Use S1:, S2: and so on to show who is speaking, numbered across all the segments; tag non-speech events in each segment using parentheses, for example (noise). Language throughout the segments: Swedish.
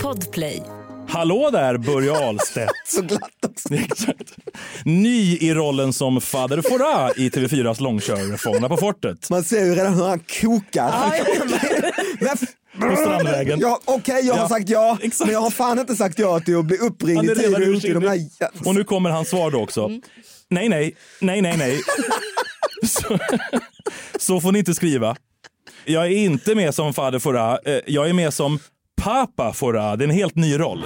S1: Podplay.
S2: Hallå där, Börje Ahlstedt.
S3: (laughs) Så glatt också.
S2: Exakt. Ny i rollen som fader Fora i TV4s långkörare Fångarna på fortet.
S3: Man ser ju redan hur han kokar.
S1: Ah,
S3: (laughs) Men f-
S2: På Strandvägen.
S3: Ja, Okej, jag
S2: Ja,
S3: har sagt ja,
S2: exakt.
S3: men jag har fan inte sagt ja till att bli
S2: Han
S3: uppringd
S2: är
S3: i tid
S2: redan
S3: och otid.
S2: ursinnig.
S3: De där jä-
S2: Och nu kommer hans svar då också. Nej, nej, nej, nej, nej. så, så får ni inte skriva. Jag är inte med som fader Fora. Eh, Jag är med som Papa Fora. Det är en helt ny roll.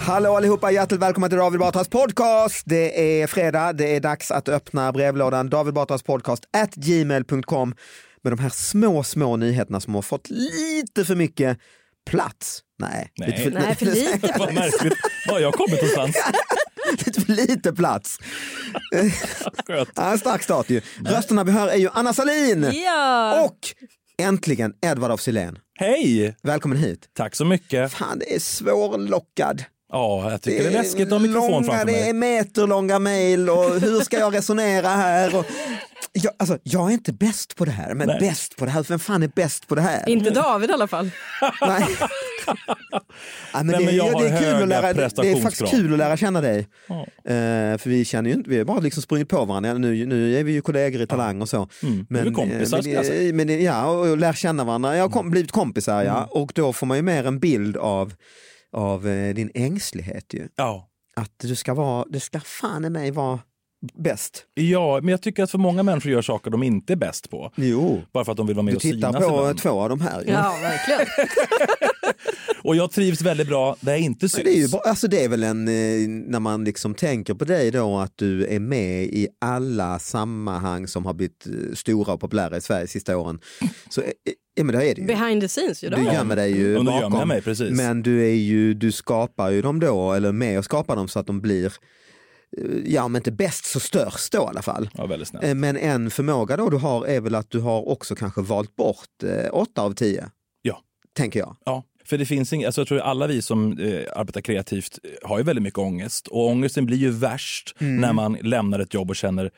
S3: Hallå allihopa, hjärtligt välkomna till David Batras podcast. Det är fredag, det är dags att öppna brevlådan David Batras podcast at gmail.com med de här små, små nyheterna som har fått lite för mycket plats. Nej,
S2: Nej.
S3: Lite, för,
S1: Nej,
S3: (laughs)
S1: för lite.
S2: Vad märkligt. Var har jag kommit någonstans?
S3: lite för lite plats.
S2: Skönt.
S3: Ja, en stark start ju. Rösterna vi hör är ju Anna Salin
S1: Ja.
S3: och äntligen Edvard af Sillén.
S2: Hej!
S3: Välkommen hit.
S2: Tack så mycket.
S3: Fan, det är svårlockad.
S2: Ja, jag tycker det är läskigt att ha mikrofon
S3: långa,
S2: framför
S3: Det är
S2: mig.
S3: meterlånga mejl och hur ska jag resonera här? Och, jag, alltså, jag är inte bäst på det här, men
S2: Nej.
S3: bäst på det här, vem fan är bäst på det här?
S4: Inte David i alla fall.
S3: Nej.
S2: (laughs)
S3: Ja, men
S2: Nej,
S3: det,
S2: men jag
S3: är-
S2: har
S3: det, är kul
S2: höga
S3: att lära, det- det är
S2: prestationskrav.
S3: faktiskt kul att lära känna dig.
S2: Ja.
S3: Eh, för vi känner ju inte, vi har bara liksom sprungit på varandra. Nu, nu är vi ju kollegor i Talang och så.
S2: Mm, nu är vi kompisar,
S3: eh,
S2: ska jag Mm.
S3: men, men, ja, och, och lär känna varandra. Jag har kom, blivit kompisar ja. Och då får man ju mer en bild av, av eh, din ängslighet ju.
S2: Ja.
S3: Att du ska vara, du ska fan i mig vara bäst.
S2: ja, men jag tycker att för många människor gör saker de inte är bäst på.
S3: Jo.
S2: Bara för att de vill vara med
S3: Du
S2: och synas.
S3: tittar på
S2: ibland.
S3: två av de här. ju.
S4: Ja, verkligen.
S2: Och jag trivs väldigt bra där jag inte syns.
S3: Men Det är, ju bara, alltså det är väl en, eh, när man liksom tänker på dig då att du är med i alla sammanhang som har blivit eh, stora och populära i Sverige de sista åren. Så eh, eh, ja, men det är det
S4: (laughs)
S3: ju.
S4: Behind the scenes ju. Då.
S3: Du gömmer dig ju
S2: Under gömmer jag
S3: bakom.
S2: mig, precis.
S3: Men du, är ju, du skapar ju dem då, eller är med och skapar dem så att de blir, eh, ja men inte bäst så störst då i alla fall.
S2: Ja, väldigt snällt.
S3: Eh, Men en förmåga då du har är väl att du har också kanske valt bort eh, åtta av tio.
S2: Ja.
S3: Tänker jag.
S2: Ja, för det finns inget, alltså jag tror alla vi som eh, arbetar kreativt eh, har ju väldigt mycket ångest och ångesten blir ju värst
S3: Mm.
S2: när man lämnar ett jobb och känner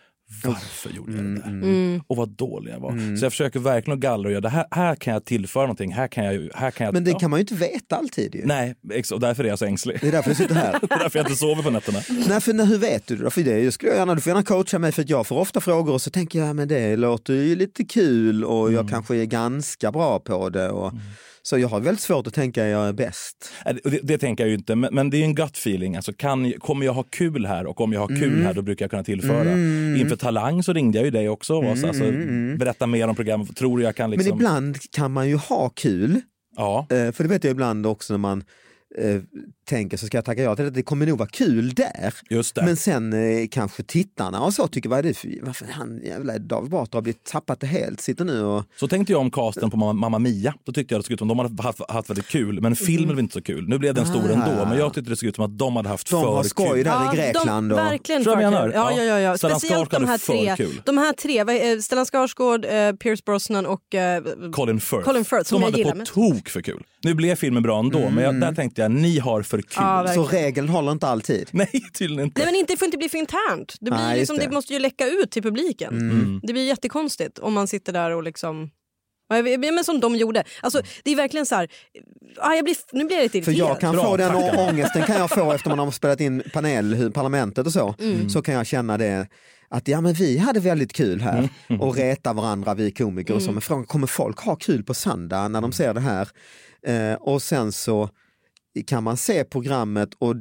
S2: varför gjorde jag det där?
S3: Mm,
S2: Och vad dålig jag var. Så jag försöker verkligen att gallra och göra det här, här kan jag tillföra någonting, här kan jag... ju- Här kan jag
S3: Men det
S2: ja.
S3: kan man ju inte veta alltid ju.
S2: Nej, ex- och därför är jag så ängslig. (laughs)
S3: Det är därför du sitter här.
S2: Det är därför jag inte sover på nätterna.
S3: Nej, för, nej, hur vet du det? För det jag skulle jag gärna, du får gärna coacha mig för att jag får ofta frågor och så tänker jag men det låter ju lite kul och
S2: Mm.
S3: jag kanske är ganska bra på det. Och, Så jag har väldigt svårt att tänka att jag är bäst.
S2: Nej, Äh, Det, det, det tänker jag ju inte, men, men det är ju en gut feeling. Alltså, kan, kommer jag ha kul här? Och om jag har kul
S3: Mm.
S2: här, då brukar jag kunna tillföra. Inför Talang så ringde jag ju dig också. Mm. Så, alltså, berätta mer om programmet. Tror du jag kan liksom...
S3: Men ibland kan man ju ha kul,
S2: Ja,
S3: eh, för det vet jag ibland också när man eh, tänker så ska jag tacka ja till det, det kommer nog vara kul där.
S2: just det.
S3: Men sen eh, kanske tittarna och så tycker, vad är det för, varför han jävla David Batra har blivit tappat det helt, sitter nu och
S2: Så tänkte jag om casten på Mamma- Mamma Mia. Då tyckte jag det såg ut som de hade haft, haft väldigt kul, men filmen var inte så kul. Nu blev den stor
S3: Mm. Ah.
S2: ändå, men jag tyckte det såg ut som att de hade haft
S3: de
S2: för
S3: har skoj
S2: kul.
S3: där
S4: de,
S3: i Grekland. och...
S4: verkligen
S2: Tror jag
S4: för
S2: menar.
S4: kul. Ja,
S2: Ja.
S4: ja, ja, ja.
S2: Stellan
S4: Speciellt
S2: Skarsgård
S4: de här
S2: är för
S4: tre.
S2: kul.
S4: De här tre, vad är- eh, Stellan Skarsgård, eh, Pierce Brosnan och... eh,
S2: Colin Firth.
S4: Colin Firth, som
S2: de
S4: jag
S2: hade
S4: gillar
S2: på
S4: mest.
S2: tok för kul. Nu blev filmen bra ändå, men jag,
S3: Mm.
S2: där tänkte jag ni har för kul.
S4: Ja, verkligen.
S3: Så regeln håller inte alltid.
S2: (laughs) Nej, tydligen inte.
S4: Nej men inte, det får inte bli för internt. Det, blir
S3: Nej,
S4: liksom,
S3: just
S4: det.
S3: det. Mm.
S4: måste ju läcka ut till publiken.
S2: Mm.
S4: Det blir jättekonstigt om man sitter där och liksom... Ja, jag vet- Men som de gjorde. Alltså, det är verkligen så här... Ja, jag blir, nu blir jag lite
S3: För
S4: irriterad.
S3: jag kan
S2: Bra,
S3: få den
S2: tack, Anna.
S3: ångesten kan jag få efter man har spelat in panel, hur- parlamentet och så. Så kan jag känna det att ja men vi hade väldigt kul här och reta varandra vi komiker och så. Men frågan kommer folk ha kul på söndag när de ser det här? Eh, och sen så kan man se programmet och,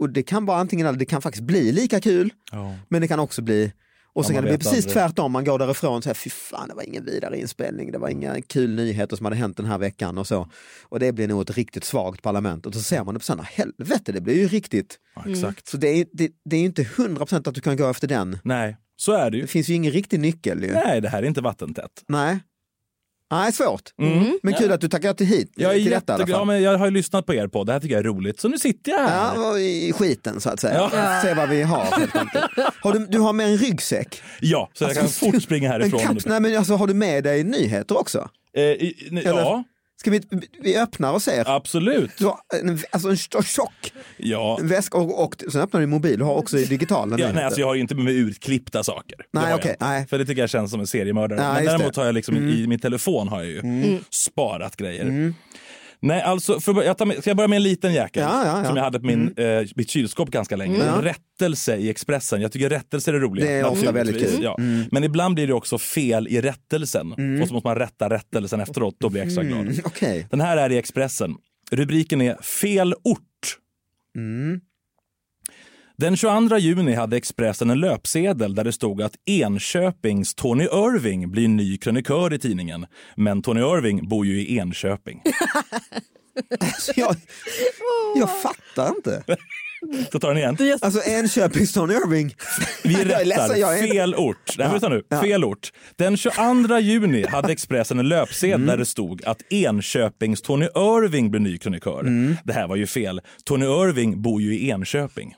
S3: och det kan vara antingen eller det kan faktiskt bli lika kul
S2: Ja.
S3: men det kan också bli och
S2: Ja, man
S3: sen kan det bli
S2: vet
S3: precis
S2: aldrig.
S3: tvärtom, man går därifrån och säger fy fan det var ingen vidare inspelning, det var inga kul nyheter som hade hänt den här veckan och så. Och det blir nog ett riktigt svagt parlament och så ser man det på söndag, helvete det blir ju riktigt.
S2: Ja, exakt.
S3: Så det är, det, det är ju inte 100% att du kan gå efter den.
S2: Nej, så är det
S3: Det
S2: ju.
S3: finns ju ingen riktig nyckel ju.
S2: Nej, det här är inte vattentätt.
S3: Nej. Nej, svårt.
S2: Mm.
S3: Men kul att du tackar till hit.
S2: Jag är
S3: till detta, i alla
S2: jätteglad,
S3: fall.
S2: men jag har ju lyssnat på er podd. Det här tycker jag är roligt. Så nu sitter jag här.
S3: Ja, och i skiten så att säga.
S2: Ja.
S3: Se vad vi har. helt enkelt. har du, du har med en ryggsäck.
S2: Ja, så jag kan fort springa
S3: Alltså, En
S2: härifrån.
S3: kaps, nej, men alltså, har du med dig nyheter också?
S2: Eh, i- nu-
S3: Eller-
S2: ja,
S3: Ska vi, vi öppnar och ser?
S2: Absolut.
S3: Du har en, alltså en st- tjock
S2: Ja.
S3: väska och, och sen öppnar du din mobil, du har också digitalen.
S2: Ja,
S3: där
S2: nej,
S3: ute.
S2: alltså jag har ju inte med utklippta saker. Det
S3: Nej,
S2: har jag
S3: okej,
S2: inte.
S3: nej.
S2: För det tycker jag känns som en seriemördare.
S3: Nej,
S2: Men
S3: just
S2: däremot
S3: det. Mm.
S2: har jag liksom i min telefon har jag ju sparat grejer. Nej, alltså, för, jag tar med, ska jag börja med en liten jäkel
S3: Ja, ja, Mm. ja.
S2: som jag hade på min, eh, mitt kylskåp ganska länge. Rättelse i Expressen. Jag tycker rättelser är roliga.
S3: Det är ofta
S2: naturligtvis.
S3: väldigt kul. Mm.
S2: Ja. Men ibland blir det också fel i rättelsen och så måste man rätta rättelsen efteråt. Då blir jag extra glad.
S3: Mm, Okej.
S2: (laughs) Den här är i Expressen. Rubriken är Fel ort.
S3: Mm.
S2: Den 22 juni hade Expressen en löpsedel där det stod att Enköpings Tony Irving blir ny krönikör i tidningen. Men Tony Irving bor ju i Enköping.
S3: Alltså, jag, jag fattar inte.
S2: Så tar den
S3: (laughs)
S2: igen.
S4: Du, jag,
S3: Alltså Enköpings Tony Irving.
S2: Vi
S3: Jag är ledsen,
S2: rättar.
S3: jag är inte-
S2: Fel ort. Nej, vänta nu. Fel ort. Den 22 juni hade Expressen en löpsedel
S3: Mm.
S2: där det stod att Enköpings Tony Irving blir ny krönikör.
S3: Mm.
S2: Det här var ju fel. Tony Irving bor ju i Enköping.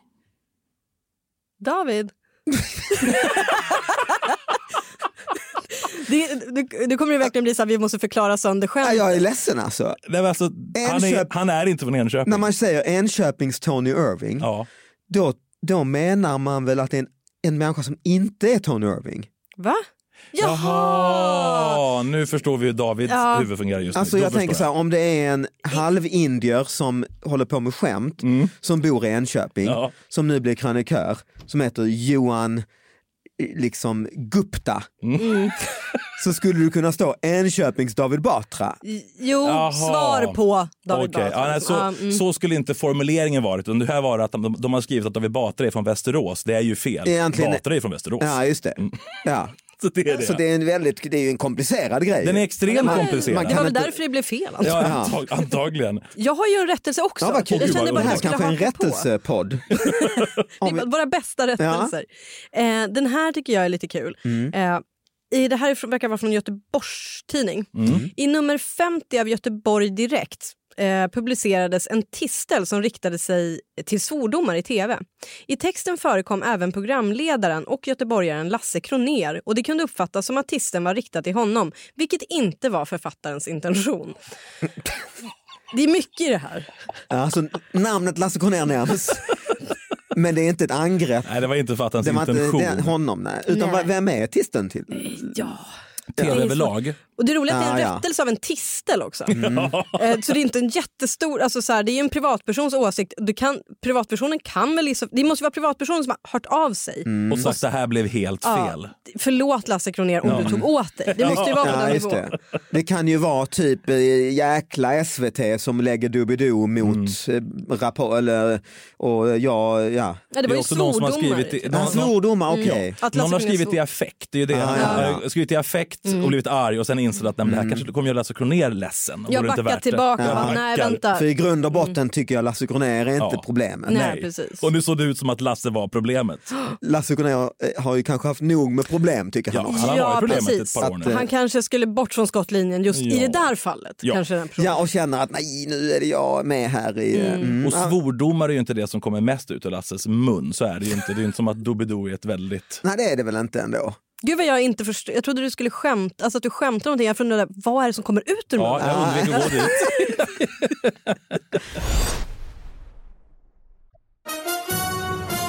S4: David. det, du, du kommer ju verkligen bli så här, vi måste förklara sönder
S3: Nej,
S4: själv.
S3: Jag är ledsen alltså.
S2: Nej, men alltså, han, är,
S3: Enköp-
S2: han är inte från Enköping.
S3: När man säger Enköpings Tony Irving,
S2: Ja.
S3: då, då menar man väl att det är en, en människa som inte är Tony Irving?
S4: Va? Jaha!
S2: Jaha! Nu förstår vi hur Davids
S4: Ja.
S2: huvud fungerar just nu.
S3: Alltså
S2: Då
S3: jag
S2: förstår
S3: tänker så här, om det är en halvindier som håller på med skämt,
S4: Mm.
S3: som bor i Enköping,
S2: Ja.
S3: som nu blir krönikör, som heter Johan eh, liksom Gupta,
S4: Mm.
S3: (laughs) så skulle du kunna stå Enköpings David Batra.
S4: Jo,
S2: Jaha.
S4: svar på David
S2: Okej,
S4: Batra.
S2: ja, nej, så,
S4: Ja, mm.
S2: så skulle inte formuleringen varit. Utan det här var att de, de har skrivit att David Batra är från Västerås. Det är ju fel.
S3: Egentligen-
S2: Batra är från Västerås.
S3: Ja, just det.
S4: Mm.
S3: Ja.
S2: Så det är det.
S3: Så det är, en väldigt, det är ju en komplicerad grej.
S2: Den är extremt
S4: Men-
S2: komplicerad.
S3: man
S4: Det
S3: kan
S4: var väl
S3: inte-
S4: därför det blev fel. Alltså.
S2: Ja, antag, antagligen.
S4: Jag har ju en rättelse också.
S3: Ja, vad kul.
S4: Jag kände
S2: Gud,
S4: bara
S3: det här
S4: att jag
S3: kanske är en
S4: skulle haka på.
S3: rättelsepodd.
S4: Det
S3: Om vi-
S4: är våra bästa rättelser. Eh, den här tycker jag är lite kul.
S3: Mm.
S4: Eh, i, det här är från- verkar vara från Göteborgs tidning.
S3: Mm.
S4: I nummer 50 av Göteborg Direkt eh, publicerades en tistel som riktade sig till svordomar i tv. I texten förekom även programledaren och göteborgaren Lasse Kroner och det kunde uppfattas som att tisteln var riktad till honom, vilket inte var författarens
S3: (laughs)
S4: intention. Det är mycket i det här.
S3: Alltså, namnet Lasse
S4: (laughs)
S3: Kronér nämns, men det är inte ett angrepp.
S2: Nej, det var inte fattarens
S3: Det var inte
S2: intention.
S3: det är honom, nej. utan
S4: Nej.
S3: vem är artisten till?
S4: Ja.
S2: Tv
S4: Mm.
S2: överlag.
S4: Och det roliga är att det är
S3: Ah,
S4: en
S3: ja.
S4: rättelse av en tistel också.
S2: Mm.
S4: (laughs) Eh, Så det är inte en jättestor, alltså så här, det är ju en privatpersons åsikt. Du kan, privatpersonen kan väl, liksom, det måste vara privatpersonen som har hört av sig.
S3: Mm.
S2: Och sagt det här blev helt Mm. fel.
S4: Förlåt Lasse Kronér om du tog åt dig. Det måste ju vara på
S3: Ja,
S4: den
S3: just
S4: nivån.
S3: det. det kan ju vara typ eh, jäkla SVT som lägger Doobidoo mot mm. rapport eller och ja, ja.
S4: Ja, det
S2: Det
S4: var
S2: är
S4: ju
S2: också någon som har
S4: svordomar.
S2: skrivit i-
S4: typ.
S2: någon-
S3: ja svordomar, okej.
S4: Att Lasse
S2: Någon har
S4: Kronér
S2: skrivit
S4: svor.
S2: i affekt. Det är ju det.
S3: Ah,
S2: Han har skrivit i affekt
S4: Mm.
S2: och blivit arg och sen insett att nej, men det här kanske kommer göra Lasse Kronér ledsen. och
S4: Jag
S2: då är det inte
S4: backar
S2: värt det.
S4: tillbaka.
S2: Jag
S4: och bara, Nej,
S2: backar.
S4: vänta.
S3: För i grund och botten tycker jag Lasse Kronér är inte
S2: Ja.
S3: problemet.
S4: Mm. Nej. precis. Mm.
S2: Och nu såg det ut som att Lasse var problemet.
S4: (gasps)
S3: Lasse Kronér eh, har ju kanske haft nog med problem tycker
S2: Ja,
S3: han.
S2: han har
S4: Ja,
S2: varit problemet
S4: precis.
S2: ett par år nu.
S3: Att, eh,
S4: Han kanske skulle bort från skottlinjen just i
S2: Ja.
S4: det där fallet.
S2: Ja.
S4: Kanske den personen.
S3: Ja, och känner att nej, nu är det jag med här i... eh, Mm.
S2: Och svordomar är ju inte det som kommer mest ut ur Lasses mun. Så är det ju inte. Det är ju inte som att Doobidoo är ett väldigt...
S3: Nej, det är det väl inte ändå.
S4: Gud vad jag inte förstår. Jag trodde du skulle skämta, alltså att du skämtade någonting. Jag funderade, vad är det som kommer ut ur
S2: Ja,
S4: munnen?
S2: jag undvek att gå dit.
S4: (laughs)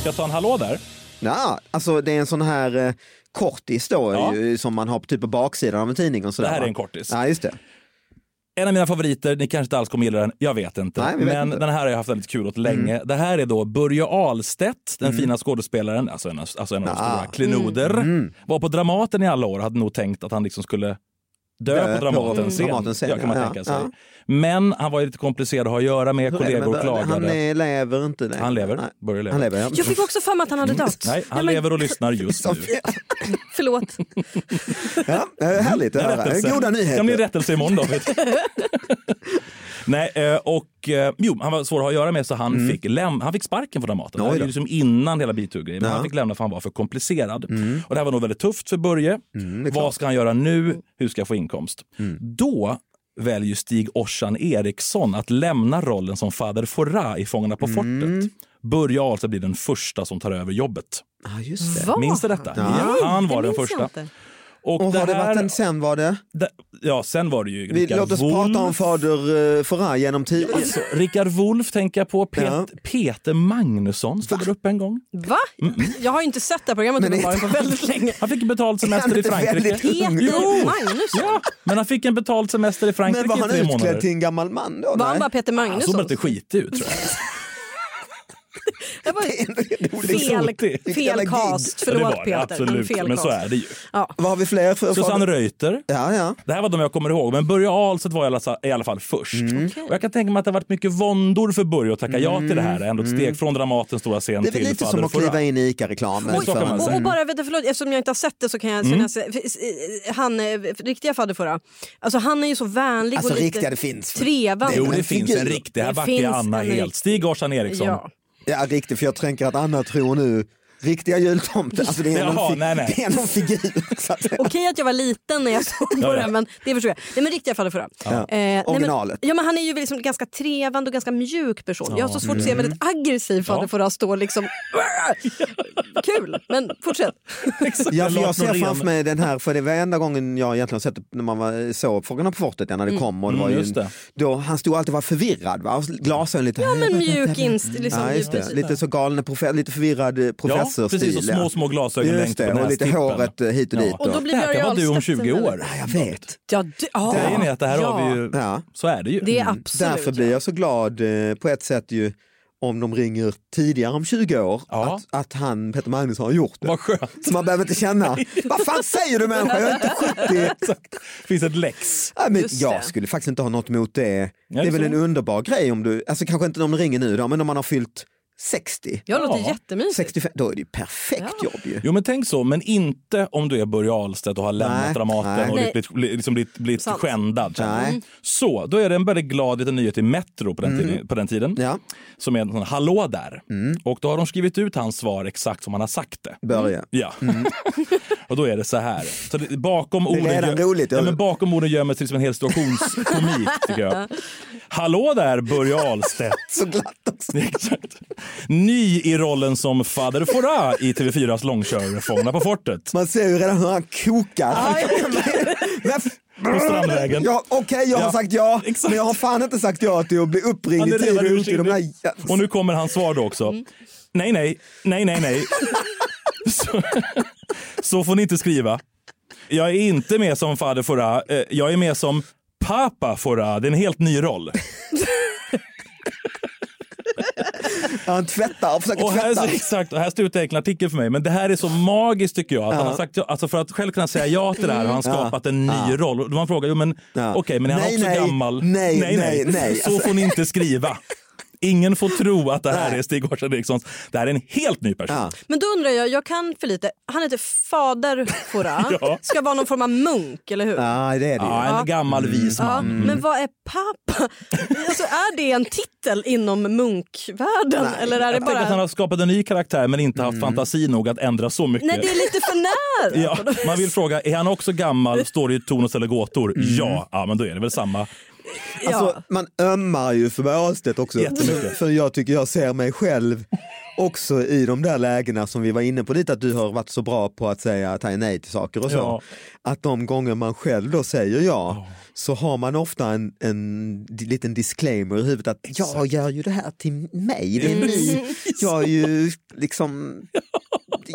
S2: Ska jag ta en hallå där?
S3: Ja, alltså det är en sån här eh, kortis då
S2: Ja.
S3: ju, som man har på- typ på baksidan av en tidning och sådär.
S2: Det här är
S3: va?
S2: en kortis.
S3: Ja, just det.
S2: En av mina favoriter, ni kanske inte alls kommer gilla den, jag vet inte.
S3: Nej, vi vet
S2: Men
S3: inte. Mm.
S2: den här har jag haft väldigt kul åt länge. Det här är då Börje Ahlstedt, den fina skådespelaren, alltså en av, alltså en av de
S3: Ah.
S2: stora klenoder.
S3: Mm.
S2: Var på Dramaten i alla år hade nog tänkt att han liksom skulle dö
S3: Dö
S2: på
S3: på
S2: Dramatens scen.
S3: Dramatens scen,
S2: ja, kan man
S3: ja.
S2: tänka sig.
S3: Ja, ja.
S2: Men han var ju lite komplicerad att ha att göra med, kollegor
S3: Men,
S2: klagade.
S3: Han är, lever inte längre.
S2: Han lever,
S3: Nej.
S2: Börje lever.
S3: Han lever, ja.
S4: Jag fick också för mig att han hade dött.
S2: Mm. Nej, han
S4: men-
S2: lever och lyssnar
S3: (laughs)
S2: just nu.
S4: Förlåt.
S3: ja, det är härligt att höra.
S2: rättelse.
S3: Goda
S2: Det kan bli en
S3: nyheter.
S2: rättelse imorgon David.
S3: (laughs)
S2: Nej, eh, och eh, jo, han var svår att ha att göra med så han, fick, läm- han fick sparken från Dramaten. Det här
S3: Mm. Oj
S2: är
S3: då.
S2: ju liksom innan hela bituggrejen. Men han fick lämna för han var för komplicerad.
S3: Mm.
S2: Och det här var nog väldigt tufft för Börje. Vad ska han göra nu? Hur ska jag få inkomst?
S3: Mm.
S2: Då väljer Stig Orsan Eriksson att lämna rollen som fader Fouras i Fångarna på
S3: Mm.
S2: fortet. Börje Ahlstedt blir den första som tar över jobbet.
S3: Ja, just det.
S4: Va?
S2: Minns du detta?
S4: Nej,
S2: han var
S4: det
S2: den
S4: minns jag
S2: första.
S4: inte.
S2: Och
S3: Och
S2: det
S3: har det
S2: här-
S3: varit en sen var det?
S2: det- Ja, sen var det ju
S3: Vi,
S2: Rickard
S3: låt oss
S2: Wolff.
S3: prata om fader eh, Farah genom tiden.
S2: Alltså, Rickard Wolff tänker jag på. Pet,
S3: Ja.
S2: Peter Magnusson stod där uppe en gång.
S4: Va?
S2: Mm.
S4: Jag har ju inte sett det här programmet
S3: Men är
S4: uppenbarligen på
S3: inte
S4: väldigt länge.
S2: Han fick betald semester i
S3: inte
S2: Frankrike.
S3: väldigt ung?
S4: Peter Magnusson?
S2: Ja, men han fick en betald semester i
S3: Men
S2: Frankrike
S3: var
S2: i
S3: han
S2: tre månader.
S3: utklädd till en gammal man då?
S4: Var han
S3: Nej.
S4: bara Peter
S2: Han såg
S4: Magnusson?
S2: bara typ- lite skitig ut tror jag. (laughs)
S4: Jag bara,
S2: Sotig.
S4: fel,
S2: Vilket
S4: fel
S3: jävla
S4: cast.
S2: Ja, det var
S4: Förlåt
S2: det,
S4: Peter.
S2: Absolut,
S4: fel
S2: men så
S4: cast.
S2: är det ju.
S4: Ja.
S3: Vad har vi fler för?
S2: Susanne
S3: fader?
S2: Reuter.
S3: Ja, ja.
S2: Det här var de jag kommer ihåg, men Börje Ahlstedt var i alla, sa- i alla fall först.
S3: Mm.
S2: Och jag kan tänka mig att det har varit mycket våndor för Börje att tacka ja till det här. Ändå ett steg från Dramatens stora scen
S3: Mm. Det är väl
S2: till
S3: lite
S2: Fader
S3: som att
S2: Fouras.
S3: kliva in i ICA-reklamen.
S2: Oj, så kan man
S4: Och,
S2: säga.
S4: och bara, vänta, förlåt, eftersom jag inte har sett det så kan jag säga mm. han eh, riktiga fadderfurra, alltså han är ju så vänlig
S3: Alltså
S4: och lite
S3: riktiga, det finns.
S4: trevande.
S3: Det är
S2: Jo, det
S3: Men
S2: finns
S3: figur.
S2: en riktig. Här
S4: Det
S2: backar jag
S4: finns
S2: Anna
S4: en
S2: helt.
S4: riktig.
S2: Stig Arslan Eriksson.
S4: Ja.
S3: Ja, riktigt, för jag tänker att Anna tror nu riktiga jultomten, alltså det är någon,
S2: Jaha,
S3: fig-
S2: nej, nej.
S3: Det är någon figur. (laughs) Så att,
S4: Okej att jag var liten när
S2: (laughs)
S4: jag såg på
S2: Ja, ja.
S4: den men det förstår jag. Nej men riktiga fadderfurra.
S3: ja.
S4: Eh, nej, men,
S3: Originalet.
S4: ja, men han är ju liksom ganska trevande och ganska mjuk person. Jag har så svårt att se
S2: Mm.
S4: en väldigt aggressiv fadderfurra stå
S2: (laughs)
S4: liksom... Kul, men fortsätt.
S2: (laughs) Exakt.
S3: Ja, för jag
S2: Lars
S3: ser
S2: Norén.
S3: framför mig den här, för det var enda gången jag egentligen har sett det när man var, såg Fåglarna på fortet, ja, när det kom. Och det var
S2: Mm,
S3: ju,
S2: just det.
S3: Då, han stod alltid och var förvirrad, va? Och glasögon lite... Ja,
S4: Men mjuk inst... Liksom,
S3: ja, just det.
S4: mjuk-
S3: Lite så galne profe- lite förvirrad eh,
S2: Ja,
S3: professorstil.
S2: precis. Och små, små glasögon
S3: Just
S2: längst
S3: det,
S2: på
S3: och lite
S2: nästippen.
S3: håret eh, hit och dit.
S4: Och då blir
S2: det här
S4: Börje
S2: kan vara du om
S4: Ahlstedt
S2: 20
S4: sen,
S2: år.
S4: eller?
S3: Ja, jag vet.
S4: Ja, det, ja.
S2: Grejen är att det här
S4: ja.
S2: har vi ju...
S3: Ja.
S2: Så är det ju. Mm.
S4: Det är absolut.
S3: Därför blir jag så glad eh, på ett sätt ju om de ringer tidigare om 20 år
S2: Ja.
S3: att, att han, Peter Magnusson, har gjort det.
S2: Vad skönt. (laughs)
S3: Så man behöver inte känna, vad fan säger du människa, jag är inte 70.
S2: Exakt. finns ett lex.
S3: Nej, men
S4: Just
S3: jag
S4: det.
S3: skulle faktiskt inte ha något emot det.
S2: Ja,
S3: det är väl
S2: så.
S3: en underbar grej om du, alltså kanske inte om de ringer nu då, men om man har fyllt 60,
S4: Jag låter
S2: Ja.
S4: jättemysigt.
S3: 65, då är det ju perfekt jobb ju.
S2: Jo men tänk så, men inte om du är Börje Ahlstedt och har lämnat
S3: Nej,
S2: Dramaten
S3: nej.
S2: och
S4: Nej.
S2: blivit, bli- liksom blivit, blivit
S4: Sant.
S2: skändad.
S3: Nej. Mm.
S2: Så, då är det en väldigt glad liten nyhet i Metro på den, tiden, på den tiden.
S3: Ja,
S2: Som är en sån hallå där.
S3: Mm.
S2: Och då har de skrivit ut hans svar exakt som han har sagt det.
S4: Mm.
S3: börja.
S2: Ja. (laughs) och då är det så här. Så det, bakom
S3: Mm. är
S2: orden
S3: redan roligt,
S2: ja,
S3: eller?
S2: men bakom orden gömmer sig liksom en hel
S3: (laughs)
S2: situationskomik tycker jag. Hallå där Börje Ahlstedt.
S3: Så glatt också.
S2: Exakt. Ny i rollen som fader Fora i TV4s långkörare Fångarna på fortet.
S3: Man ser ju redan hur han kokar. Men-
S2: På Strandvägen.
S3: Ja, Okej, jag
S2: Ja,
S3: har sagt ja,
S2: exakt.
S3: men jag har fan inte sagt ja till att bli
S2: Han
S3: uppringd
S2: är
S3: i tid
S2: redan
S3: och otid.
S2: ursinnig.
S3: De där jä-
S2: Och nu kommer hans svar då också.
S3: Mm.
S2: Nej, nej, nej, nej,
S3: (laughs)
S2: nej. så, så får ni inte skriva. Jag är inte med som fader Fora. Eh, Jag är med som Papa Fora. Det är en helt ny roll.
S3: Han tvättar, försöker
S2: Och här,
S3: tvätta.
S2: exakt, och här slutar en artikel för mig. Men det här är så magiskt tycker jag. Att han har sagt, ja- alltså för att själv kunna säga ja till det här har han skapat en ny roll. Och man frågar, jo, men
S3: Ja.
S2: okej, men är han
S3: Nej,
S2: också
S3: nej.
S2: gammal?
S3: Nej, nej, nej.
S2: Så får ni inte skriva. Ingen får tro att det här är Stig Årsson Erikssons. Det här är en helt ny person.
S3: Ja.
S4: Men då undrar jag, jag kan för lite. Han heter Fader Fora.
S2: (laughs) Ja.
S4: Ska vara någon form av munk, eller hur?
S3: Ja, det är det ju.
S2: Ja, en gammal
S3: Mm.
S2: vis
S4: Ja,
S2: man.
S4: Men vad är pappa? (laughs) Alltså, är det en titel inom munkvärlden? eller är det
S2: Jag tänker att han
S4: bara...
S2: har skapat en ny karaktär men inte
S3: Mm.
S2: haft fantasi nog att ändra så mycket.
S4: Nej, det är lite för
S2: (laughs)
S4: nära.
S2: ja, man vill fråga, är han också gammal? Står det i ton och ställer gåtor?
S3: Mm.
S2: Ja. ja, men då är det väl samma.
S3: Alltså, man ömmar ju för Ahlstedt också.
S2: Jättemycket.
S3: För jag tycker jag ser mig själv också i de där lägena som vi var inne på lite, att du har varit så bra på att säga att jag nej till saker och så.
S2: Ja.
S3: Att de gånger man själv då säger ja, så har man ofta en, en di- liten disclaimer i huvudet att jag gör ju det här till mig, det är
S2: Mm. (laughs)
S3: ni, jag är ju liksom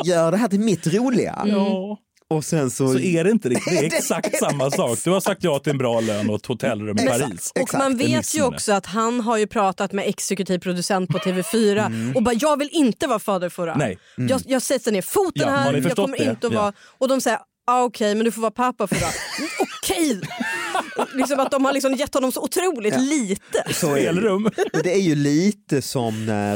S3: gör det här till mitt roliga.
S2: Ja.
S3: Och sen så,
S2: Så är det inte riktigt.
S3: (laughs)
S2: Det är exakt samma sak. Du har sagt ja till en bra lön och ett hotellrum i Paris.
S4: Och man
S2: det är
S4: vet ju
S2: missnöje.
S4: också att han har ju pratat med exekutiv producent på TV4 och bara jag vill inte vara fader Fora.
S2: Mm. Nej. Mm.
S4: Jag, jag sätter ner foten
S2: Ja, har
S4: här,
S2: ni
S4: jag
S2: förstått
S4: kommer
S2: det?
S4: inte att
S2: Ja.
S4: vara... Och de säger ah, okej men du får vara pappa
S2: (laughs)
S4: Fora. okej! liksom att de har liksom gett honom så otroligt lite.
S3: så är det.
S2: Spelrum.
S3: Men det är ju lite som när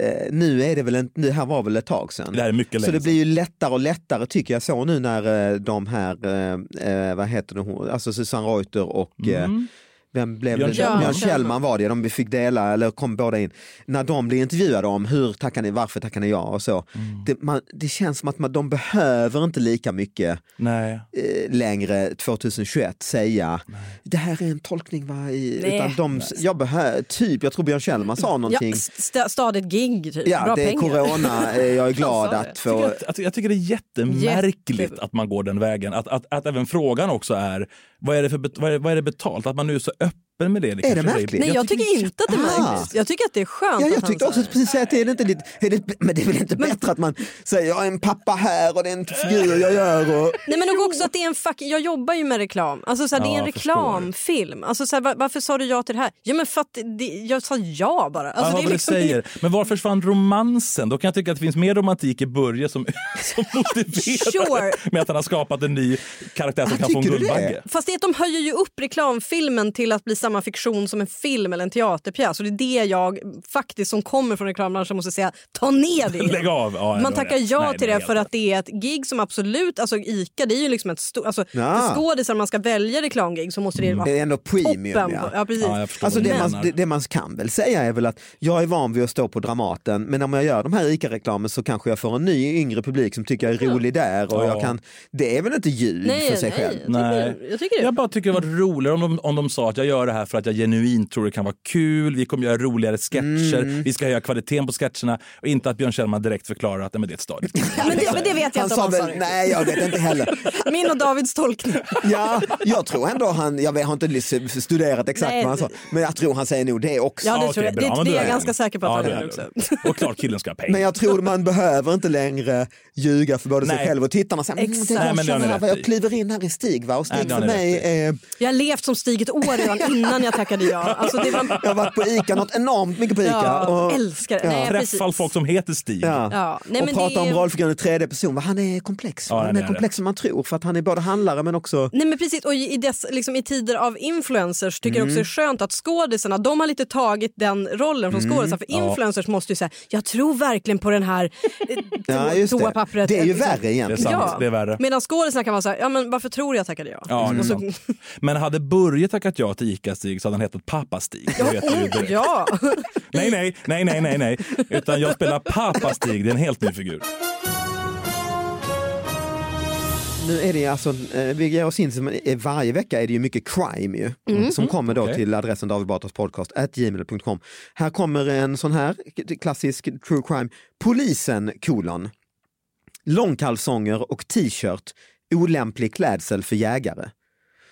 S3: eh, nu är det väl en, nu här var väl ett tag sedan.
S2: Det här är mycket
S3: så
S2: längre.
S3: det blir ju lättare och lättare tycker jag så nu när eh, de här, eh, eh, vad heter det, hon- alltså Susanne Reuter och eh, vem blev
S2: Mm. Björn
S3: det?
S2: Kjellman.
S3: Björn
S4: Ja,
S3: Kjellman
S4: Kjellman.
S3: var det, de fick dela, eller kom båda in. När de blev intervjuade om hur tackar ni, varför tackar ni ja och så.
S2: Mm.
S3: Det, man, det känns som att man, de behöver inte lika mycket
S2: Nej.
S3: eh, längre 2021 säga det här är en tolkning va? I,
S4: Nej.
S3: utan de, jag behöver, typ, jag tror Björn Kjellman sa
S4: Ja,
S3: någonting.
S4: st- stadigt gig, typ.
S3: Ja,
S4: Bra
S3: det är
S4: pengar.
S3: corona, eh, jag är
S4: sa
S3: glad
S4: det.
S3: att
S2: Jag
S3: få...
S2: tycker, att, att, jag tycker det är jättemärkligt
S4: Jätte-
S2: att man går den vägen. Att, att, att även frågan också är vad är, det för, bet- vad, är, vad är det betalt? Att man nu är så öppen med det.
S3: Är det
S2: kanske
S3: märkligt?
S4: Nej, jag,
S2: det är
S4: tycker inte att det är
S3: Ah.
S4: märkligt. Jag tycker att det är skönt
S3: Ja,
S4: att
S3: jag
S4: han
S3: tyckte
S4: så
S3: också
S4: här-
S3: precis säga att det är det inte lite, är det, men det är väl inte bättre att man säger jag är en pappa här och det är en figur jag gör. Och,
S4: Nej men och också att det är en fuck, jag jobbar ju med reklam. Alltså så här, det
S2: Ja,
S4: är en
S2: jag förstår.
S4: reklamfilm. Alltså så här, va- varför sa du ja till det här? Ja men för att det, jag sa ja bara. Alltså,
S2: Alltså,
S4: det är liksom-
S2: du säger. Men var försvann romansen? Då kan jag tycka att det finns mer romantik i Börje som, (laughs) som motiverar
S4: Sure.
S2: med att han har skapat en ny karaktär som
S3: Ah,
S2: kan få en
S3: tycker du det?
S2: Guldbagge.
S4: Fast det är att de höjer ju upp reklamfilmen till att bli samma fiktion som en film eller en teaterpjäs. Och det är det jag faktiskt som kommer från reklambranschen måste säga, ta ner det.
S2: Lägg av! Ja, du har
S4: Man tackar
S2: rätt.
S4: ja till
S2: Nej, du har
S4: det
S2: helt
S4: för
S2: rätt.
S4: att det är ett gig som absolut, alltså Ica det är ju liksom ett stort, alltså
S3: Ja.
S4: för skådisar man ska välja reklamgig så måste det vara
S3: det är ändå premium.
S4: toppen.
S3: Ja.
S4: Ja. ja precis.
S2: Ja, jag förstår
S3: Alltså
S2: vad du
S3: det, man,
S2: menar.
S3: det, det man kan väl säga är väl att jag är van vid att stå på Dramaten men om jag gör de här ICA-reklamen så kanske jag får en ny yngre publik som tycker jag är rolig där och
S2: Ja.
S3: jag kan, det är väl inte ljug för sig själv.
S4: Nej,
S2: Nej.
S4: jag tycker, jag tycker det.
S2: Jag bara tycker det var roligare om de, om de sa att jag gör det här för att jag genuint tror det kan vara kul, vi kommer göra roligare sketcher,
S4: Mm.
S2: vi ska höja kvaliteten på sketcherna och inte att Björn Kjellman direkt förklarar att nej, men det är ett stadigt
S4: men, det, men det vet jag inte
S3: Han
S4: om
S3: sa
S4: han sa
S3: väl,
S4: det.
S3: nej jag vet inte heller.
S4: Min och Davids tolkning.
S3: Ja, jag tror ändå han, jag vet- har inte lis- studerat exakt
S4: Nej,
S3: vad han sa, men jag tror han säger nog det också.
S4: Ja, det
S2: okej,
S4: tror jag.
S2: bra.
S4: Det,
S2: Men
S4: det är
S2: då är
S4: jag
S2: den.
S4: ganska säker på att
S2: Ja,
S4: han
S2: det är
S4: är också.
S2: den. Och klart killen ska ha pengar.
S3: Men jag tror man behöver inte längre ljuga för både sig
S2: Nej.
S3: själv och tittarna. Så här, mm,
S4: Exakt.
S3: det är
S4: Nej,
S2: men det har ni
S3: jag,
S2: rätt
S3: jag
S2: i.
S3: kliver in här i Stig va? och
S2: Nej,
S3: Stig
S2: det har
S3: för
S2: ni
S3: mig
S2: rätt
S3: är
S4: Jag har levt som Stig ett år redan innan jag tackade ja. Alltså, det var...
S3: jag har varit på ICA, något enormt mycket på ICA.
S4: Ja,
S3: och,
S4: älskar det. Nej, precis.
S2: Träffar folk som heter Stig.
S3: ja.
S4: Ja, nej,
S3: och
S4: men
S3: prata
S4: det är-
S3: om rollfiguren i tredje person. va? Han är komplex.
S2: Ja,
S3: han
S2: det
S3: är
S2: är
S3: komplex som man tror för att han är både handlare men också...
S4: Nej men precis, och i, dess, liksom, i tider av influencers tycker jag också det
S2: Mm.
S4: är skönt att skådisarna, de har lite tagit den rollen
S2: Mm.
S4: från skådisar. För influencers måste ju säga, jag tror verkligen på den här eh,
S3: (laughs) Ja,
S4: to-
S3: just det.
S4: toapappret.
S3: det är ju
S4: Liksom.
S3: värre
S2: Det är
S3: egentligen.
S2: sant, det är värre.
S4: Medan skådisarna kan vara så här, ja men varför tror jag tackade jag?
S2: Ja, det är
S4: Och så-
S2: sant. Men hade Börje tackat ja till ICA-Stig så hade han hetat Pappa-Stig. Det vet du ju direkt.
S4: ja.
S2: Nej, nej, nej, nej, nej, nej. Utan jag spelar Pappa-Stig, det är en helt ny figur.
S3: Nu är det alltså, eh, vi ger oss in, som- eh, varje vecka är det ju mycket crime ju,
S4: Mm.
S3: som kommer då
S2: Okej.
S3: till adressen David Batras podcast, at gmail.com. Här kommer en sån här k- klassisk true crime. Polisen kolon. Långkalsonger och t-shirt, olämplig klädsel för jägare.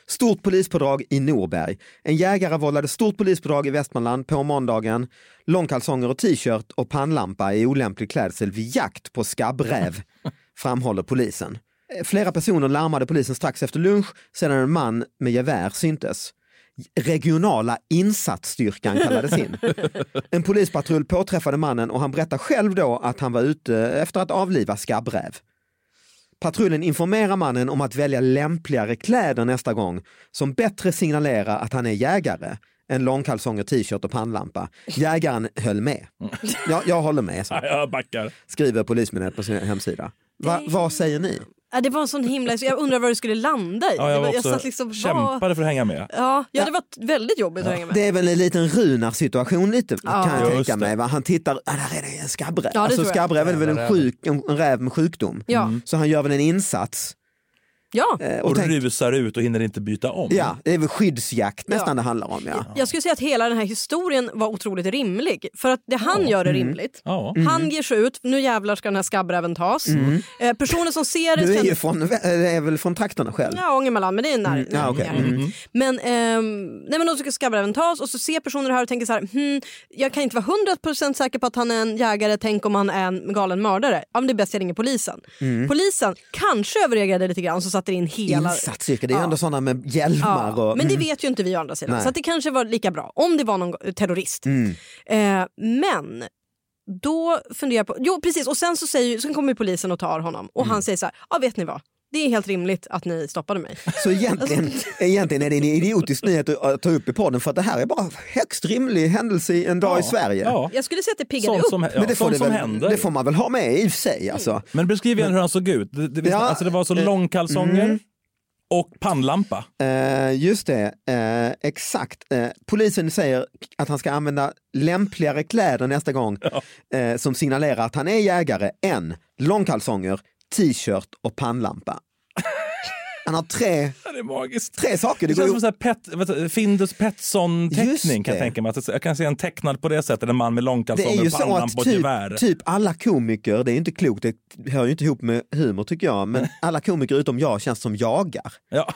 S3: Stort polispådrag i Norberg. En jägare vållade stort polispådrag i Västmanland på måndagen. Långkalsonger och t-shirt och pannlampa i olämplig klädsel vid jakt på skabbräv, framhåller polisen. Eh, Flera personer larmade polisen strax efter lunch sedan en man med gevär syntes. Regionala insatsstyrkan kallades in. En polispatrull påträffade mannen och han berättar själv då att han var ute efter att avliva skabbräv. Patrullen informerar mannen om att välja lämpligare kläder nästa gång som bättre signalerar att han är jägare än långkalsonger, t-shirt och pannlampa. Jägaren höll med. Ja, jag håller med,
S2: Nej, Jag backar.
S3: skriver Polismyndigheten på sin hemsida. Va, vad säger ni?
S4: Ja, Äh, det var en sån himla... Jag undrar vad det skulle landa i.
S2: Ja,
S4: Det
S2: jag
S4: var-
S2: var också
S4: satt liksom, vad-
S2: kämpade för att hänga med.
S4: Ja, ja, det var väldigt jobbigt att hänga med.
S3: Det är väl en liten Runar-situation lite kan jag
S2: Just
S3: tänka
S2: det.
S3: mig. Va? Han tittar, ah, där är det en skabbräv.
S4: det
S3: alltså,
S4: tror jag.
S3: skabbräv är väl en, sjuk, en en räv med sjukdom.
S4: Ja.
S3: Så han gör väl en insats.
S4: Ja.
S3: eh,
S2: Mm. Och
S3: tänk-
S2: rusar ut och hinner inte byta om.
S3: ja, det är väl skyddsjakt nästan
S4: Ja.
S3: det handlar om. Ja.
S4: Jag skulle säga att hela den här historien var otroligt rimlig. För att det han gör
S3: Mm.
S4: är rimligt.
S2: Ja.
S4: Han ger sig ut, nu jävlar ska den här skabbräven tas. Eh, personer som ser det...
S3: Mm. Du är
S4: känner-
S3: ju från, eh, är väl från trakterna själv?
S4: Ja, Ångermanland, men det är nära. Mm.
S3: ja, okej.
S4: Men, ehm, nej, men då ska skabbräven tas och så ser personer det här och tänker så här, hmm, jag kan inte vara 100% säker på att han är en jägare, tänk om han är en galen mördare. Ja, men det är bäst jag ringer polisen.
S3: Mm.
S4: Polisen kanske överreagerade lite grann så satte in hela...
S3: Insatsyrken, det är ju
S4: Ja.
S3: ändå sådana med hjälmar
S4: Ja,
S3: och... Mm.
S4: men det vet ju inte vi å andra sidan.
S3: Nej. Mm.
S4: Så att det kanske var lika bra om det var någon go- terrorist. Eh, men då funderar jag på... Jo precis, och sen så, säger, sen kommer ju polisen och tar honom och
S3: Mm.
S4: han säger så här, ja vet ni vad, det är helt rimligt att ni stoppade mig.
S3: Så egentligen,
S4: Alltså-
S3: egentligen är det en idiotisk nyhet att ta upp i podden för att det här är bara högst rimlig händelse i en dag i Sverige.
S2: Ja.
S4: Jag skulle säga att det piggade
S2: Sånt
S4: upp.
S2: som, ja,
S3: Men det får,
S2: sånt
S3: det,
S2: som
S3: väl,
S2: händer.
S3: det får man väl ha
S4: Mm.
S3: med i och för sig. Alltså.
S2: Men beskriv igen hur han såg ut. Det, det, visst,
S3: Ja,
S2: alltså det var så
S3: eh,
S2: långkalsonger, och pannlampa.
S3: Eh, just det, eh, exakt. Eh, polisen säger att han ska använda lämpligare kläder nästa gång eh, som signalerar att han är jägare än långkalsonger, t-shirt
S2: (laughs)
S3: och pannlampa. Han har tre,
S2: Det är magiskt.
S3: tre saker.
S2: Det
S3: Det går
S2: känns som
S3: ju...
S2: så här pet, vad heter det, Findus
S3: Just
S2: Pettersson-teckning kan
S3: det.
S2: jag tänka mig. Att jag kan se en tecknad på det sättet, en man med
S3: Det är
S2: långkalsonger,
S3: ju så att
S2: pannlampa och ett
S3: typ,
S2: gevär.
S3: typ alla komiker, det är ju inte klokt, det hör ju inte ihop med humor tycker jag, men alla komiker utom jag känns som jagar.
S2: Ja,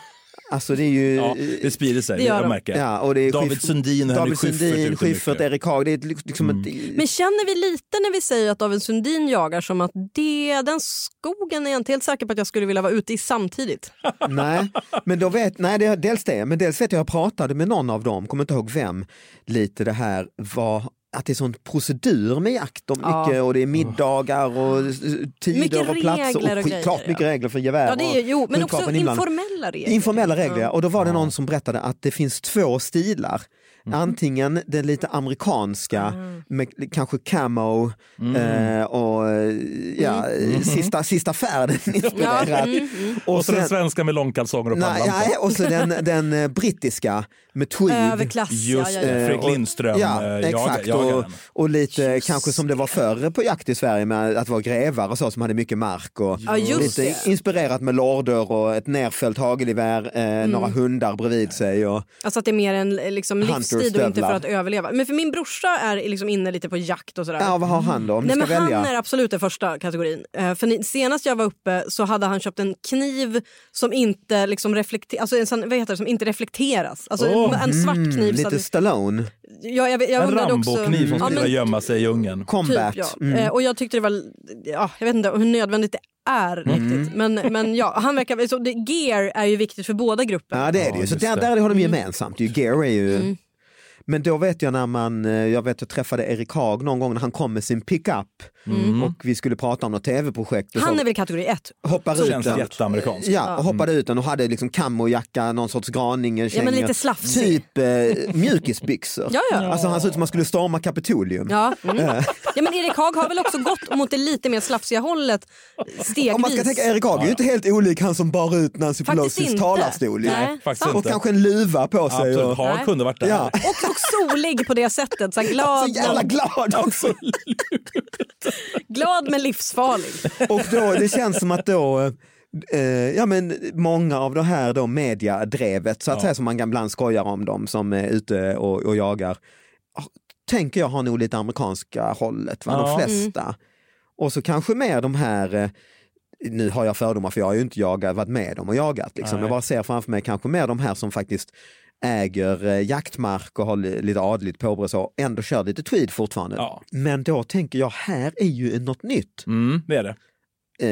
S3: Alltså det är ju...
S2: ja, det sprider sig,
S4: Det
S2: det
S4: gör
S2: jag
S4: de.
S2: märker.
S3: Ja, och det är
S2: David
S3: Schiff-
S2: Sundin och Henrik
S3: David
S2: Schyffert
S3: Sundin,
S2: ute mycket. Mm.
S3: Schyffert, Erik Haag, det är liksom ett...
S4: Men känner vi lite när vi säger att David Sundin jagar som att det, den skogen är jag inte helt säker på att jag skulle vilja vara ute i samtidigt?
S3: Nej, men då vet, nej det, dels det, men dels vet jag jag pratade med någon av dem, kommer inte ihåg vem, lite det här var att det är sån procedur med jakt och
S4: Ja. Ah.
S3: mycket och det är middagar och eh, tider
S4: Mycket
S3: och platser
S4: regler och
S3: skit-
S4: grejer,
S3: klart mycket
S4: ja.
S3: regler för gevär
S4: Ja, det är,
S3: och
S4: jo, men också
S3: skjutvapen inblandat.
S4: informella regler.
S3: Informella regler, ja. och då var det någon som berättade att det finns två stilar.
S4: Mm.
S3: Antingen den lite amerikanska
S4: Ah.
S3: med kanske camo
S4: Mm.
S3: eh, och eh, ja, sista, sista färden
S4: Ja,
S3: inspirerat.
S4: mm, mm.
S3: Och,
S2: Och så den
S3: sen,
S2: svenska med långkalsonger och
S3: nej,
S2: pannlampa.
S3: nej, och
S4: (laughs)
S3: så den, den eh, brittiska med tweed. Eh,
S4: Överklass, ja,
S2: Just
S4: ja,
S2: det,
S4: ja.
S2: Fredrik
S3: och-
S2: Lindström, eh,
S3: Ja,
S2: ja,
S3: exakt. Och,
S2: jagaren.
S3: och lite kanske som det var förr på jakt i Sverige med att vara grevar och så som hade mycket mark och
S4: Ja, just
S3: lite
S4: det.
S3: inspirerat med lorder och ett nerfällt hagelgevär, eh,
S4: Mm.
S3: några hundar bredvid sig. Och,
S4: Alltså att det är mer en eh, liksom, livsstil och inte
S3: Hunterstövlar.
S4: för att överleva. Men för min brorsa är liksom inne lite på jakt och sådär.
S3: ja, vad har han då? Om du
S4: Nej,
S3: ska
S4: men
S3: välja.
S4: Han är absolut den första kategorin. Eh, För ni- Senast jag var uppe så hade han köpt en kniv som inte liksom reflekteras, alltså en sån, vad heter det, som inte reflekteras. Alltså en, en svart kniv.
S3: Mm,
S4: så
S3: lite
S4: att,
S3: Stallone,
S4: ja, jag, vet- jag
S2: En
S4: undrade också, Mm.
S2: Rambo-kniv som
S4: Ja,
S2: skulle
S4: men
S2: vilja gömma sig i djungen.
S3: combat.
S4: Typ, ja.
S3: Mm.
S4: Eh, och jag tyckte det var, ja, jag vet inte hur nödvändigt det är
S3: Mm.
S4: riktigt. Men, men ja, han verkar, så det, gear är ju viktigt för båda grupper.
S3: Ja det är det
S2: Ja,
S3: ju, så
S2: just
S3: där,
S2: det. Mm.
S3: där har de gemensamt. ju. Gear är ju...
S4: Mm.
S3: Men då vet jag när man, eh, jag vet jag träffade Erik Haag någon gång när han kom med sin pickup och vi skulle prata om något tv-projekt. och
S4: Mm. Han
S3: så.
S4: är väl kategori ett.
S3: hoppar ut
S2: Känns
S3: den.
S2: jätteamerikanskt.
S3: Ja, och hoppade ut den och hade liksom kamojacka, någon sorts graninge,
S4: Ja, men
S3: kängor.
S4: lite slafsig.
S3: Typ eh, mjukisbyxor.
S4: Ja, ja.
S3: Alltså han såg ut som man skulle storma Kapitolium.
S4: Ja. Mm. ja men Erik Haag har väl också gått mot det lite mer slafsiga hållet stegvis.
S3: Om man ska tänka Erik Haag är ju inte helt olik han som bar ut Nancy
S4: Faktiskt
S3: Pelosis
S4: inte.
S3: talarstol. ju.
S4: Nej,
S2: faktiskt
S4: sant.
S3: Och
S2: inte.
S3: kanske en luva på sig.
S2: Absolut,
S3: Och,
S2: Haag
S4: Nej.
S2: kunde varit där.
S3: ja.
S4: Och, och solig på det sättet. Så här
S3: (laughs) Så
S4: glad,
S3: jävla glad också.
S4: glad men livsfarlig.
S3: Och då, det känns som att då eh, ja, men många av det här då mediadrevet så att säga som man ibland skojar om dem som är ute och, och jagar. ah, Tänker jag har nog lite amerikanska hållet, va?
S2: Ja. Mm.
S3: de flesta. Och så kanske mer de här eh, nu har jag fördomar för jag har ju inte jagat, varit med dem och jagat. Liksom.
S2: Nej.
S3: Jag bara ser framför mig kanske mer de här som faktiskt äger eh, jaktmark och har li- lite adligt påbrå och så, ändå kör lite tweed fortfarande.
S2: Ja.
S3: Men då tänker jag, här är ju något nytt
S2: Mm, det är det.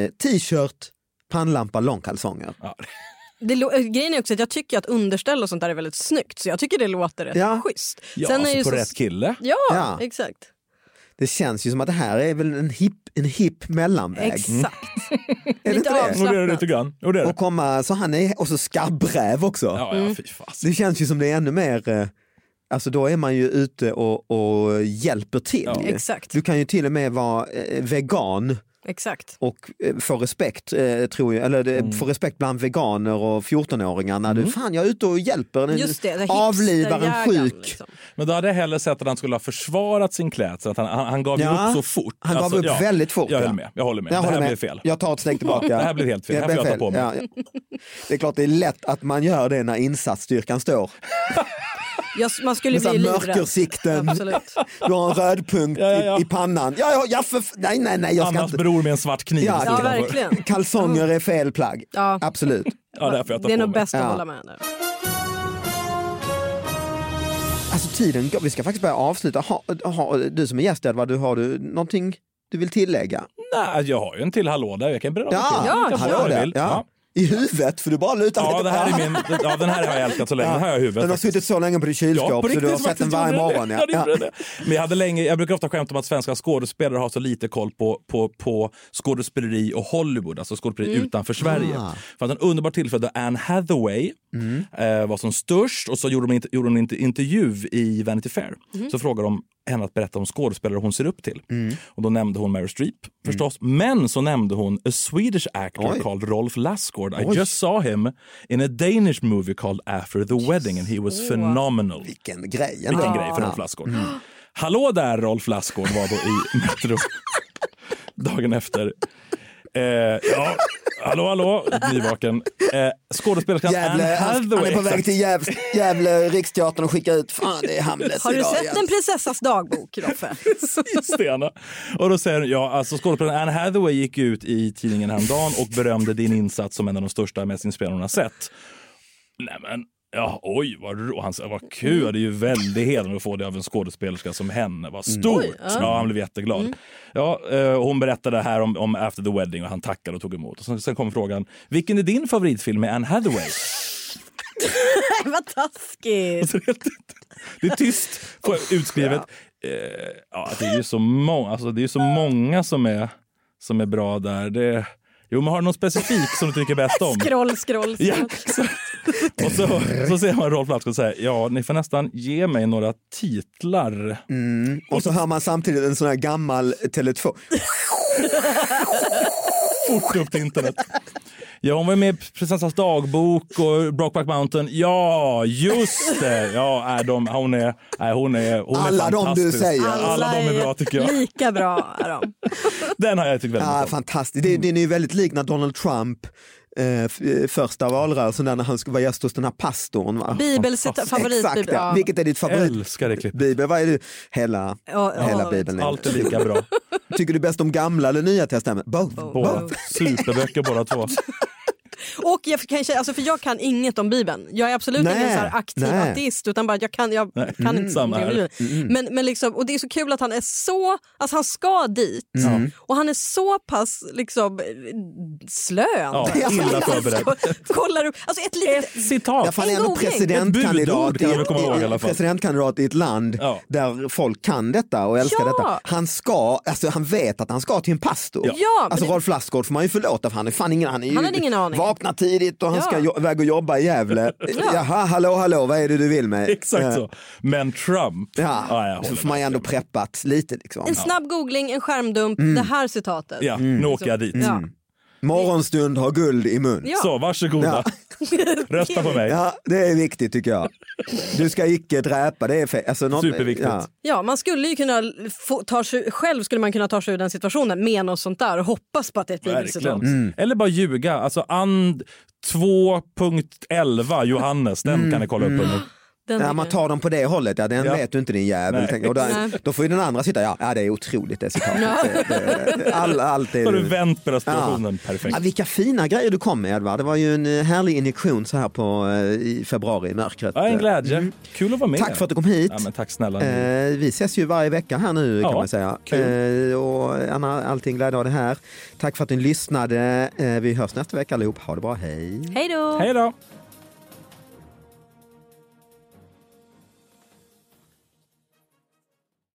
S3: eh, t-shirt, pannlampa, långkalsonger.
S2: Ja.
S4: Det, lå- eh, grejen är också att jag tycker att underställ och sånt där är väldigt snyggt. Så jag tycker det låter rätt
S3: Ja.
S4: schysst.
S2: Ja,
S4: Sen är
S2: alltså
S4: ju
S2: på
S4: så-
S2: rätt kille.
S4: Ja,
S3: Ja.
S4: exakt.
S3: Det känns ju som att det här är väl en hipp en hip mellanväg.
S4: Exakt.
S3: (laughs) Är det
S4: lite
S3: inte det?
S4: avslappnat.
S2: Och det är det lite grann. Och det är det.
S3: Och, komma, så han är, och så skabbräv också.
S2: Ja, ja, fy fasen.
S3: Det känns ju som det är ännu mer, eh, alltså då är man ju ute och, och hjälper till.
S2: Ja.
S4: Exakt.
S3: Du kan ju till och med vara eh, vegan
S4: Exakt.
S3: och eh, få respekt, eh, tror jag, eller mm. få respekt bland veganer och 14-åringar när
S2: Mm.
S3: du, fan jag är ute och hjälper, en,
S4: Just det, det
S3: avlivar en
S4: hipsterjägaren,
S3: sjuk.
S4: liksom.
S2: Men då hade jag hellre sett att han skulle ha försvarat sin klädsel. Att han, han, han gav ju
S3: Ja.
S2: upp så fort. Alltså,
S3: Han gav upp väldigt fort,
S2: Jag
S3: ja.
S2: höll med. Jag håller med.
S3: Jag
S2: det
S3: håller
S2: här
S3: med.
S2: blev fel.
S3: Jag tar ett steg tillbaka.
S2: Ja, (laughs) det här blev helt fel. Det här
S3: blev
S2: får jag ta på mig.
S3: Ja, ja. Det är klart det är lätt att man gör det när insatsstyrkan står.
S4: Jag, man skulle
S3: Med så
S4: bli
S3: här
S4: livrädd.
S3: mörkersikten,
S4: Absolut.
S3: du har en röd punkt
S2: Ja, ja, ja.
S3: I, i pannan. Ja, ja, ja, för, f- nej, nej, nej, jag ska
S2: Annas
S3: inte.
S2: bror med en svart kniv.
S3: Ja,
S2: stod
S4: Ja,
S2: framför.
S4: verkligen.
S3: Kalsonger är fel plagg.
S4: Ja.
S3: Absolut.
S2: Ja, det här får jag ta
S4: Det är
S2: på
S4: nog
S2: mig.
S4: bäst att
S3: Ja.
S4: hålla med. Där.
S3: Alltså tiden går. Vi ska faktiskt börja avsluta. Ha, ha, du som är gäst Edvard, du, har du någonting du vill tillägga?
S2: Nej, alltså, jag har ju en till hallå där. Jag kan bredda mig till.
S4: Ja,
S2: Jag får
S4: hallå
S2: vad jag
S3: där.
S2: vill.
S3: Ja. I huvudet, för du bara lutar
S2: Ja,
S3: lite
S2: det
S3: på
S2: här är
S3: pannan.
S2: min, ja, den här har jag älskat så länge. Den här har jag i huvudet.
S3: Den har
S2: faktiskt.
S3: suttit så länge på ditt kylskåp
S2: Ja, på
S3: så
S2: riktigt
S3: du har sett
S2: faktiskt, jag
S3: den varje
S2: gjorde det.
S3: morgon.
S2: Ja, det
S3: Ja.
S2: gjorde det. Men jag, hade länge, jag brukar ofta skämta om att svenska skådespelare har så lite koll på, på, på skådespeleri och Hollywood, alltså skådespeleri utanför Sverige.
S3: Ah. Mm.
S2: För att en underbar tillfälle då Anne Hathaway
S3: Mm.
S2: eh, var som störst och så gjorde de, inte, gjorde de inte intervju i Vanity Fair. Så frågade de henne att berätta om skådespelare hon ser upp till. Och då nämnde hon Meryl Streep förstås, men så nämnde hon a Swedish actor
S3: Mm. Oj.
S2: called Rolf Lassgård. I
S3: Oj.
S2: just saw him in a Danish movie called After the Wedding and he was phenomenal.
S3: Vilken grej ändå.
S2: Vilken grej för Rolf Lassgård.
S3: Mm.
S2: Hallå där Rolf Lassgård var då i Metro (laughs) dagen efter. Eh, ja, hallå hallå, nyvaken. Eh, skådespelerskan Anne
S3: Gävle, han, han
S2: Hathaway.
S3: är på väg
S2: exakt.
S3: till Gävle, Gävle Riksteatern och skickar ut, fan det är Hamlet
S4: Har du
S3: idag
S4: sett
S3: igen.
S4: en prinsessas dagbok,
S3: (laughs)
S4: Roffe?
S2: (laughs) Stena. Och då säger hon, ja alltså skådespelaren Anne Hathaway gick ut i tidningen häromdagen och berömde din insats som en av de största, mest inspirerande hon har sett. Nej men, ja oj vad, ro- han sa, vad kul, det är ju väldigt hedrande att få det av en skådespelerska som henne, vad stort! ja. han blev jätteglad. Ja, eh, hon berättade här om, om After the Wedding och han tackade och tog emot. Och sen, sen kom frågan, vilken är din favoritfilm med Anne Hathaway?
S4: Vad taskigt!
S2: Så det, (laughs) det är tyst på utskrivet. Eh, ja, det är ju så, må- alltså, det är ju så många som är, som är bra där. Det, jo, men har du någon specifik som du tycker bäst om?
S4: Scroll, scroll.
S2: Ja,
S4: scroll.
S2: exakt. och så, så ser man Rolf Lassgård säga ja, ni får nästan ge mig några titlar.
S3: Mm. Och så hör man samtidigt en sån här gammal Tele2.
S2: Fort upp till internet. Ja, hon var med i Prinsessans dagbok och Brokeback Mountain. Ja, just det! Ja, är de, hon är, nej, hon är, hon är
S3: Alla de du
S2: fantastisk.
S3: säger.
S2: Alla de är bra tycker jag.
S4: Lika bra är de.
S2: Den har jag tyckt väldigt
S3: Ah,
S2: mycket om.
S3: fantastiskt, det, den är ju väldigt lik när Donald Trump eh, f- eh, första valrörelsen där när han skulle vara gäst hos den här pastorn. Va?
S4: Bibelcita-
S3: Exakt,
S4: favoritbibel.
S3: ja.
S4: Ja.
S3: Vilket är ditt favoritbibel?
S2: Älskar det klippet.
S3: Vad är du? Hela,
S4: Ja, ja,
S3: hela
S4: ja.
S3: bibeln. är-
S2: Allt är lika
S3: (laughs)
S2: bra.
S3: Tycker du bäst om gamla eller nya testamentet? Both.
S2: Båda. Superböcker båda två.
S4: Och jag kan, känna- alltså för jag kan inget om Bibeln. Jag är absolut
S3: Nej,
S4: ingen så här aktiv
S3: nej.
S4: ateist utan bara att jag kan, jag
S2: Nej,
S4: kan
S2: mm,
S4: inte
S2: samma
S4: någonting om
S2: här. Mm.
S4: Bibeln. Men, men liksom, och det är så kul att han är så, alltså han ska dit och han är så pass liksom eh, slö.
S2: Ja, illa förberedd.
S4: Kollar upp, alltså ett litet...
S3: Ja,
S2: Citat.
S3: fan, är ändå
S4: googling.
S2: Ett budord
S3: presidentkandidat i,
S2: kan vi komma ihåg i
S3: i,
S2: alla
S3: i,
S2: fall.
S3: presidentkandidat i ett land
S2: Ja.
S3: där folk kan detta och älskar
S4: Ja.
S3: detta. Han ska, alltså han vet att han ska till en pastor.
S2: Ja.
S4: Ja,
S3: alltså
S4: men-
S3: Rolf Lassgård får man ju förlåta för han är fan ingen, han är ju
S4: Han hade ingen aning.
S3: vaknar tidigt och han
S4: Ja.
S3: ska jo- iväg och jobba i Gävle. Jaha, hallå, hallå, vad är det du vill med?
S2: Exakt
S3: Eh,
S2: så. Men Trump.
S3: Ja,
S2: jag håller
S3: så får man ju
S2: med.
S3: ändå preppat lite liksom.
S4: En snabb googling, en skärmdump,
S3: Mm.
S4: det här citatet.
S2: Ja, nu åker jag dit.
S4: Ja.
S3: Morgonstund har guld i mun.
S4: Ja.
S2: Så, varsågoda. Rösta på mig.
S3: Ja, det är viktigt tycker jag. Du ska icke dräpa, det är fe- alltså, något-
S2: Superviktigt.
S3: Ja.
S4: Ja, man skulle ju kunna få, ta sig, själv skulle man kunna ta sig ur den situationen med något sånt där och hoppas på att det är ett bibelcitat.
S2: Verkligen. Eller bara ljuga. Alltså and 2.11 Johannes,
S3: Mm.
S2: den kan ni kolla upp under.
S4: Den
S3: Ja,
S4: tycker
S3: man
S4: jag.
S3: tar dem på det hållet, ja, den
S2: Ja.
S3: vet du inte din jävel.
S2: Nej.
S3: Tänk, och där,
S4: Nej.
S3: då får ju den andra sitta, ja, ja det är otroligt det citatet. Det- det- All, allt
S2: Då
S3: är
S2: har du
S3: du.
S2: vänt på den situationen.
S3: Ja,
S2: Perfekt.
S3: vilka fina grejer du kom med Edvard, det var ju en eh, härlig injektion så här på, eh, i februari i mörkret.
S2: Ja, en glädje.
S3: Mm.
S2: Kul att vara med.
S3: Tack för att du kom hit.
S2: Ja, men tack snälla. ni.
S3: Eh, vi ses ju varje vecka här nu kan
S2: Ja,
S3: man säga.
S2: kul.
S3: Eh, och Anna, allting glädje av det här. Tack för att ni lyssnade. Eh, vi hörs nästa vecka allihop. Ha det bra, hej.
S4: Hej då!
S2: Hej då!